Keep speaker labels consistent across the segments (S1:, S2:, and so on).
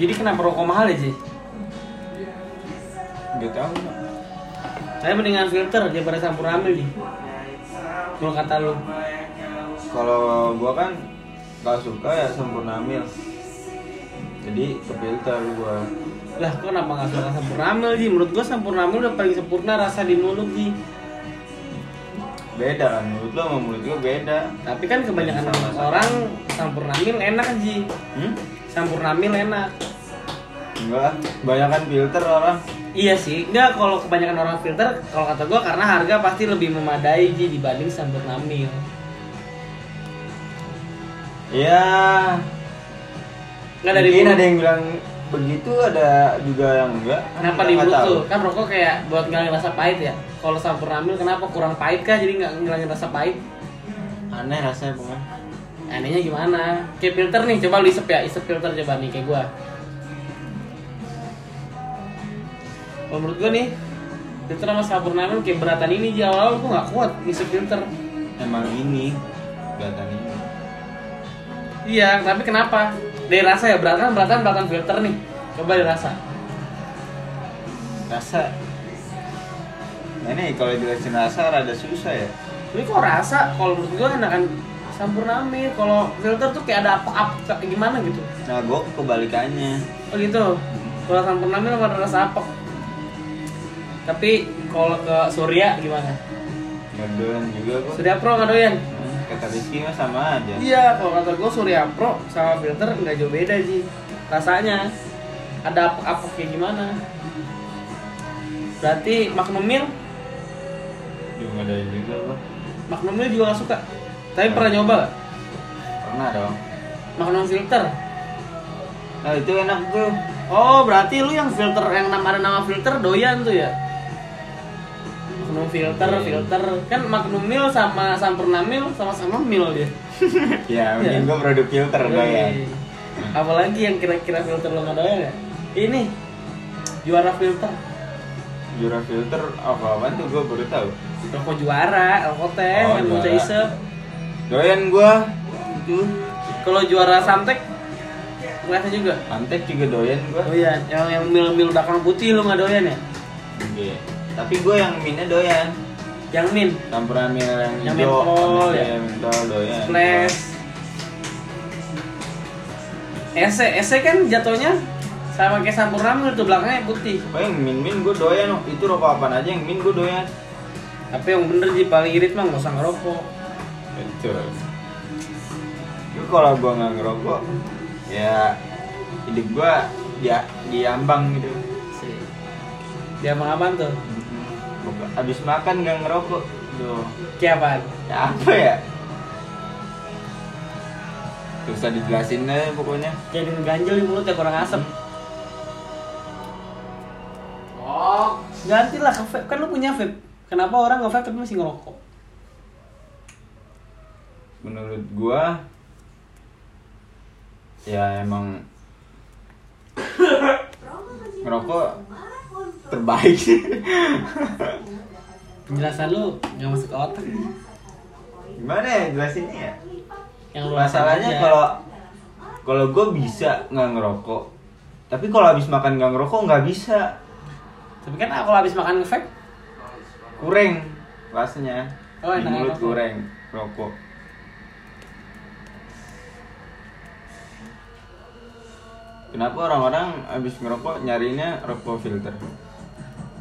S1: Jadi kenapa rokok mahal ya, Ji?
S2: Gak tau Mak.
S1: Saya mendingan filter daripada campur ambil, Ji. Kalau kata lu.
S2: Kalau gua kan gak suka ya sempurna mil Jadi ke filter gua
S1: Lah, kok kenapa nggak suka campur ambil, Ji? Menurut gua campur ambil udah paling sempurna rasa di mulut, Ji.
S2: Beda kan, mulut lo sama mulut gua beda
S1: Tapi kan kebanyakan
S2: Sama-sama.
S1: orang campur ambil enak, Ji.
S2: Hmm?
S1: Campur ambil enak.
S2: Enggak lah, kebanyakan filter orang
S1: Iya sih, enggak kalau kebanyakan orang filter kalau kata gua karena harga pasti lebih memadai Ji dibanding sambal namil.
S2: Ya
S1: Enggak dari
S2: Mungkin
S1: mulut.
S2: ada yang bilang begitu, ada juga yang enggak
S1: Kenapa
S2: Kita
S1: di
S2: nggak
S1: mulut
S2: tahu.
S1: tuh? Kan rokok kayak buat ngilangin rasa pahit ya. Kalau sampur ramil kenapa kurang pahit kah? Jadi nggak ngilangin rasa pahit?
S2: Aneh rasanya pengen
S1: Anehnya gimana? Kayak filter nih, coba lu isep ya, isep filter coba nih kayak gua. Kalau menurut gua nih, filter sama sampur ramil kayak beratan ini Ji awal-awal gua nggak kuat isep filter.
S2: Emang ini Kelihatan ini
S1: Iya, tapi kenapa? Dari rasa ya, beratan beratan beratan filter nih. Coba dirasa.
S2: Rasa Nah ini kalau jelasin rasa rada susah ya
S1: Ini kok rasa? Kalau menurut gua enakan sampurna mie. Kalau filter tuh kayak ada apa apa gimana gitu.
S2: Nah gua kebalikannya
S1: Oh gitu. Kalau sampurna mie nggak ada rasa apa. Tapi kalau ke Surya gimana?
S2: Ngedoan juga kok
S1: Surya Pro nggak doyan?
S2: Hmm, Kata Rizky mah sama aja
S1: Iya, kalau kata gua Surya Pro sama filter nggak jauh beda sih. Rasanya ada apa-apa kayak gimana? Berarti Magnum Mil
S2: Juga ngedoan juga kok
S1: Magnum Mil juga gak suka. Tapi pernah nyoba gak?
S2: Pernah dong
S1: Magnum filter.
S2: Nah itu enak tuh
S1: Oh, berarti lu yang filter yang nama ada nama filter doyan tuh ya? Magnum filter,
S2: Iya.
S1: filter. Kan Magnum Mil sama Sampurna Mil sama-sama Mil dia.
S2: Ya mungkin gua produk filter gua ya
S1: Yoi. Apalagi yang kira-kira filter lu nggak doyan ya? Ini juara filter.
S2: Jura filter apa-apaan tuh gua baru tahu
S1: Rokok juara, rokok teh,
S2: Oh,
S1: yang
S2: juara.
S1: bocah isep.
S2: Doyan gua Itu
S1: Kalau juara Samtek, ngeliatnya juga.
S2: Antek juga doyan gua
S1: Doyan, yang yang mil-mil belakang putih lu nggak doyan ya?
S2: Iya. Tapi gue yang minnya doyan.
S1: Yang min,
S2: Campuran mie yang
S1: Yang
S2: hijau,
S1: mentol,
S2: manisnya
S1: ya.
S2: yang mentol doyan.
S1: Flash. Ese, ese kan jatuhnya sama kayak sampur ramil tuh belakangnya putih.
S2: Pokoknya Oh, yang min-min gue doyan, itu rokok apaan aja yang min gue doyan
S1: Tapi yang bener sih paling irit mah nggak usah ngerokok.
S2: Betul Gue kalau gue nggak ngerokok, ya hidup gue dia diambang gitu
S1: Si. Dia mah apaan tuh?
S2: Buka, Abis makan gak ngerokok Duh,
S1: Kayak apaan?
S2: ya apa ya? Gak usah dijelasin deh pokoknya
S1: Kayak dengan ganjel di mulut ya kurang asem. Oh, gantilah ke vape. Kan lu punya vape. Kenapa orang nge-vape tapi masih ngerokok?
S2: menurut gua ya emang ngerokok terbaik
S1: Penjelasan lu nggak masuk ke otak.
S2: gimana ya jelasinnya ya
S1: Yang lu
S2: masalahnya
S1: rasain aja.
S2: kalau kalau gua bisa nggak ngerokok tapi kalau habis makan nggak ngerokok nggak bisa
S1: tapi kan kalau habis makan nge-vape
S2: kurang rasanya
S1: Oh,
S2: di
S1: enak
S2: mulut
S1: ngerokok.
S2: kurang rokok Kenapa orang-orang habis ngerokok nyarinya rokok filter?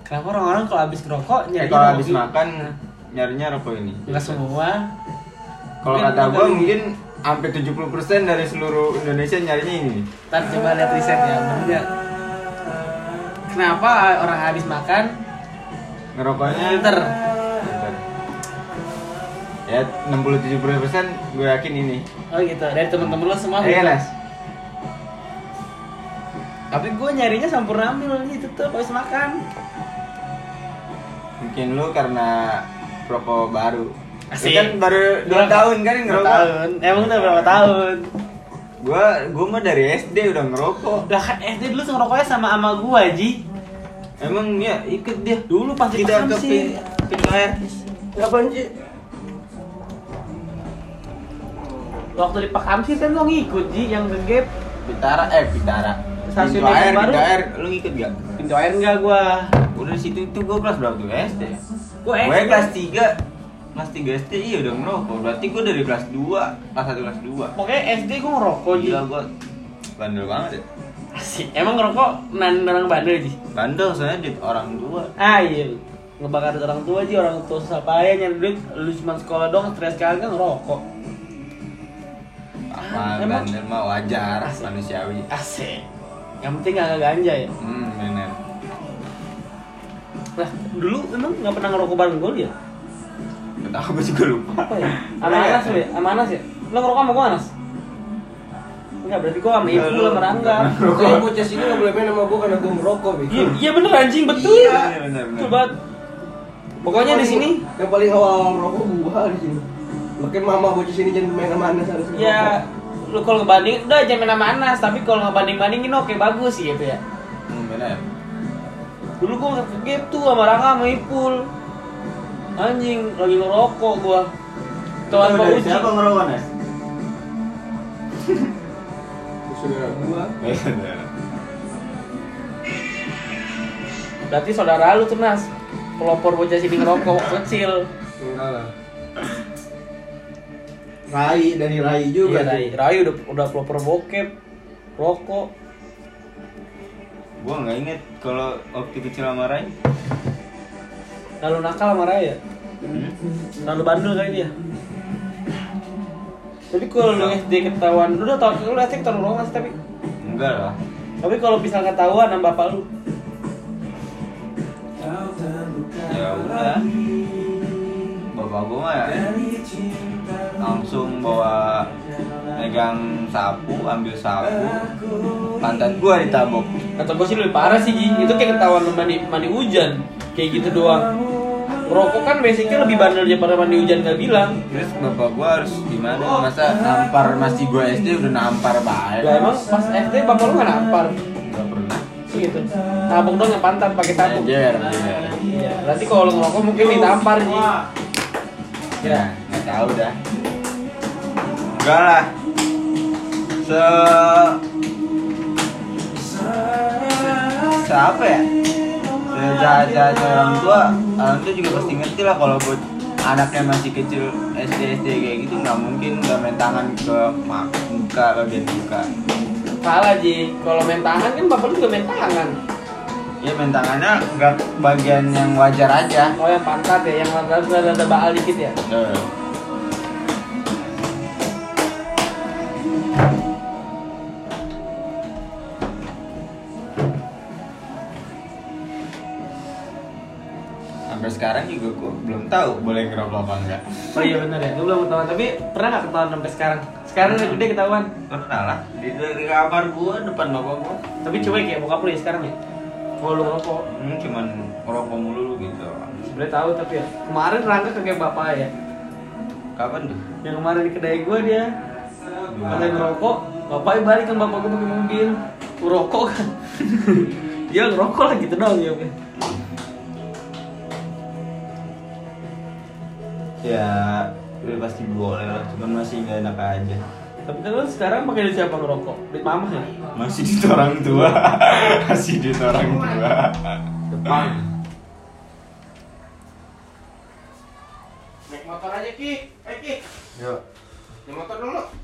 S1: Kenapa orang-orang Eh, kalau habis ngerokok
S2: Ya,
S1: nyari
S2: kalau habis makan nyarinya rokok ini.
S1: Enggak semua.
S2: Kalau
S1: Mungkin
S2: kata
S1: ada
S2: gua
S1: ini.
S2: mungkin hampir 70% dari seluruh Indonesia nyarinya ini.
S1: Ntar coba lihat risetnya, bener nggak? Kenapa orang habis makan?
S2: Ngerokoknya
S1: Filter.
S2: Filter. Ya 60-70% gue yakin ini.
S1: Oh gitu, dari temen-temen lo semua
S2: Iya,
S1: gitu.
S2: Nas.
S1: Tapi gue nyarinya sampurna mil gitu tuh habis makan.
S2: Mungkin lu karena rokok baru.
S1: Asik.
S2: Lu kan baru 2
S1: Berapa?
S2: tahun kan yang
S1: Berapa
S2: ngerokok.
S1: tahun? Emang udah berapa tahun?
S2: Gua gua mah dari SD udah ngerokok.
S1: Udah kan SD dulu tuh ngerokoknya sama ama gua, Ji.
S2: Emang ya ikut dia.
S1: Dulu pas di
S2: Kita
S1: Paham
S2: ke
S1: sih.
S2: pin- pintu air.
S3: Ngapain sih?
S1: Waktu di Pak Amsi kan lo ngikut, Ji, yang ngegap
S2: Pitara eh Pitara.
S1: stasiun
S2: pintu air,
S1: yang baru
S2: pintu air, lu ngikut gak?
S1: pintu air enggak gua
S2: Udah di situ itu gua kelas berapa tuh SD? ya?
S1: Gua SD.
S2: Gua kelas 3 kelas 3 SD iya udah ngerokok. Berarti gua dari kelas 2, kelas 1 kelas 2.
S1: pokoknya SD gua ngerokok Ji
S2: Gila gua bandel banget ya.
S1: Asik. emang ngerokok nan orang bandel Ji
S2: Bandel soalnya di orang tua.
S1: ah iya ngebakar duit orang tua Ji orang tua susah payah nyari duit lu cuma sekolah dong stres kagak ngerokok
S2: Apa
S1: Ah, Emang?
S2: bandel mah wajar, manusiawi.
S1: asik yang penting gak ganja ya
S2: Hmm, bener.
S1: lah dulu emang nggak pernah ngerokok bareng gua lu ya
S2: Gak tau gua juga lupa.
S1: apa ya sama Anas lu ya sama Anas ya lo ngerokok sama gua Anas Enggak, berarti gua sama
S2: Iya,
S1: Ibu
S2: lu
S1: sama Rangga
S3: Tapi bocah sini nggak boleh main sama gue karena gue merokok, Bi.
S1: Iya, iya bener anjing betul.
S2: Iya,
S1: Iya,
S2: iya, bener, bener.
S1: Betul banget. Pokoknya di sini
S3: yang paling awal merokok gue di sini. Makin mama bocah sini jangan main sama Anas harus
S1: ya lu kalau ngebanding udah jangan main sama Anas, tapi kalau ngebanding-bandingin oke bagus sih gitu ya.
S2: Hmm, bener.
S1: Dulu gua ngerokok gitu sama Rangga sama Ipul. Anjing lagi ngerokok gua. Tuan Pak Uci.
S2: ngerokok, Nes?
S3: merokok. Saudara gue.
S1: Berarti saudara lu tuh Nas. Pelopor bocah sini ngerokok waktu kecil.
S3: Enggak lah. Rai dari Rai juga.
S1: Iya, Rai. Rai udah udah pelopor bokep. Rokok.
S2: Gua nggak inget kalau waktu kecil sama Rai.
S1: Lalu nakal sama Rai ya?
S2: Hmm?
S1: Terlalu bandel kali dia. Tapi kalau lu SD ketahuan, lu udah tau lu SD ketahuan doang sih tapi
S2: Enggak lah.
S1: tapi kalau misal ketahuan sama bapak lu,
S2: Ya udah. Bapak gua mah langsung bawa megang sapu, ambil sapu, pantat gua ditabok.
S1: kata gua sih lebih parah sih, Ji. Itu kayak ketahuan lu mandi mandi hujan, kayak gitu doang. Rokok kan basicnya lebih bandel daripada mandi hujan gak bilang.
S2: Terus bapak gua harus gimana? Masa nampar masih gua SD udah nampar baik.
S1: Lah emang pas SD bapak lu gak nampar
S2: Gak pernah.
S1: sih gitu. Tabok doang yang pantat pakai tabok.
S2: Ajar, ajar.
S1: Iya, berarti kalau lu ngerokok mungkin ditampar, Ji.
S2: Ya, nggak tahu dah. Enggak lah. Se siapa ya sejahat jahatnya orang tua orang tua juga pasti ngerti lah kalau buat anaknya masih kecil SD SD kayak gitu nggak mungkin nggak main tangan ke ma- muka bagian muka
S1: Salah, Ji. Kalau main tangan kan bapak lu juga main tangan.
S2: ya main tangannya nggak bagian yang wajar aja
S1: Oh yang pantat ya, yang rada rada ada baal dikit ya.
S2: Eh, sampai sekarang juga gue belum tahu boleh ngerokok apa enggak
S1: Oh iya benar ya, lu belum ketahuan. Tapi pernah nggak ketahuan sampai sekarang? Sekarang udah gede ketahuan.
S2: pernah lah di dari kamar gua depan bapak gua
S1: Tapi cuek ya, bokap lu ya sekarang ya. Kalau lu ngerokok,
S2: hmm, cuman ngerokok mulu lu gitu
S1: sebenarnya tahu tapi ya. Kemarin Rangga kagak bapak ya.
S2: kapan tuh
S1: Yang kemarin di kedai gua dia katanya ngerokok, bapaknya balik kan bapak gua pakai mobil. Ngerokok kan. Dia ngerokok lah gitu doang ya.
S2: ya udah pasti boleh lah cuman masih nggak enak aja
S1: Tapi kan lu sekarang pakai duit siapa ngerokok? Duit mama ya?
S2: masih di orang tua masih di orang tua
S1: Depan.
S3: Naik motor aja Ki. Eh Ki,
S2: Yuk.
S3: naik motor dulu.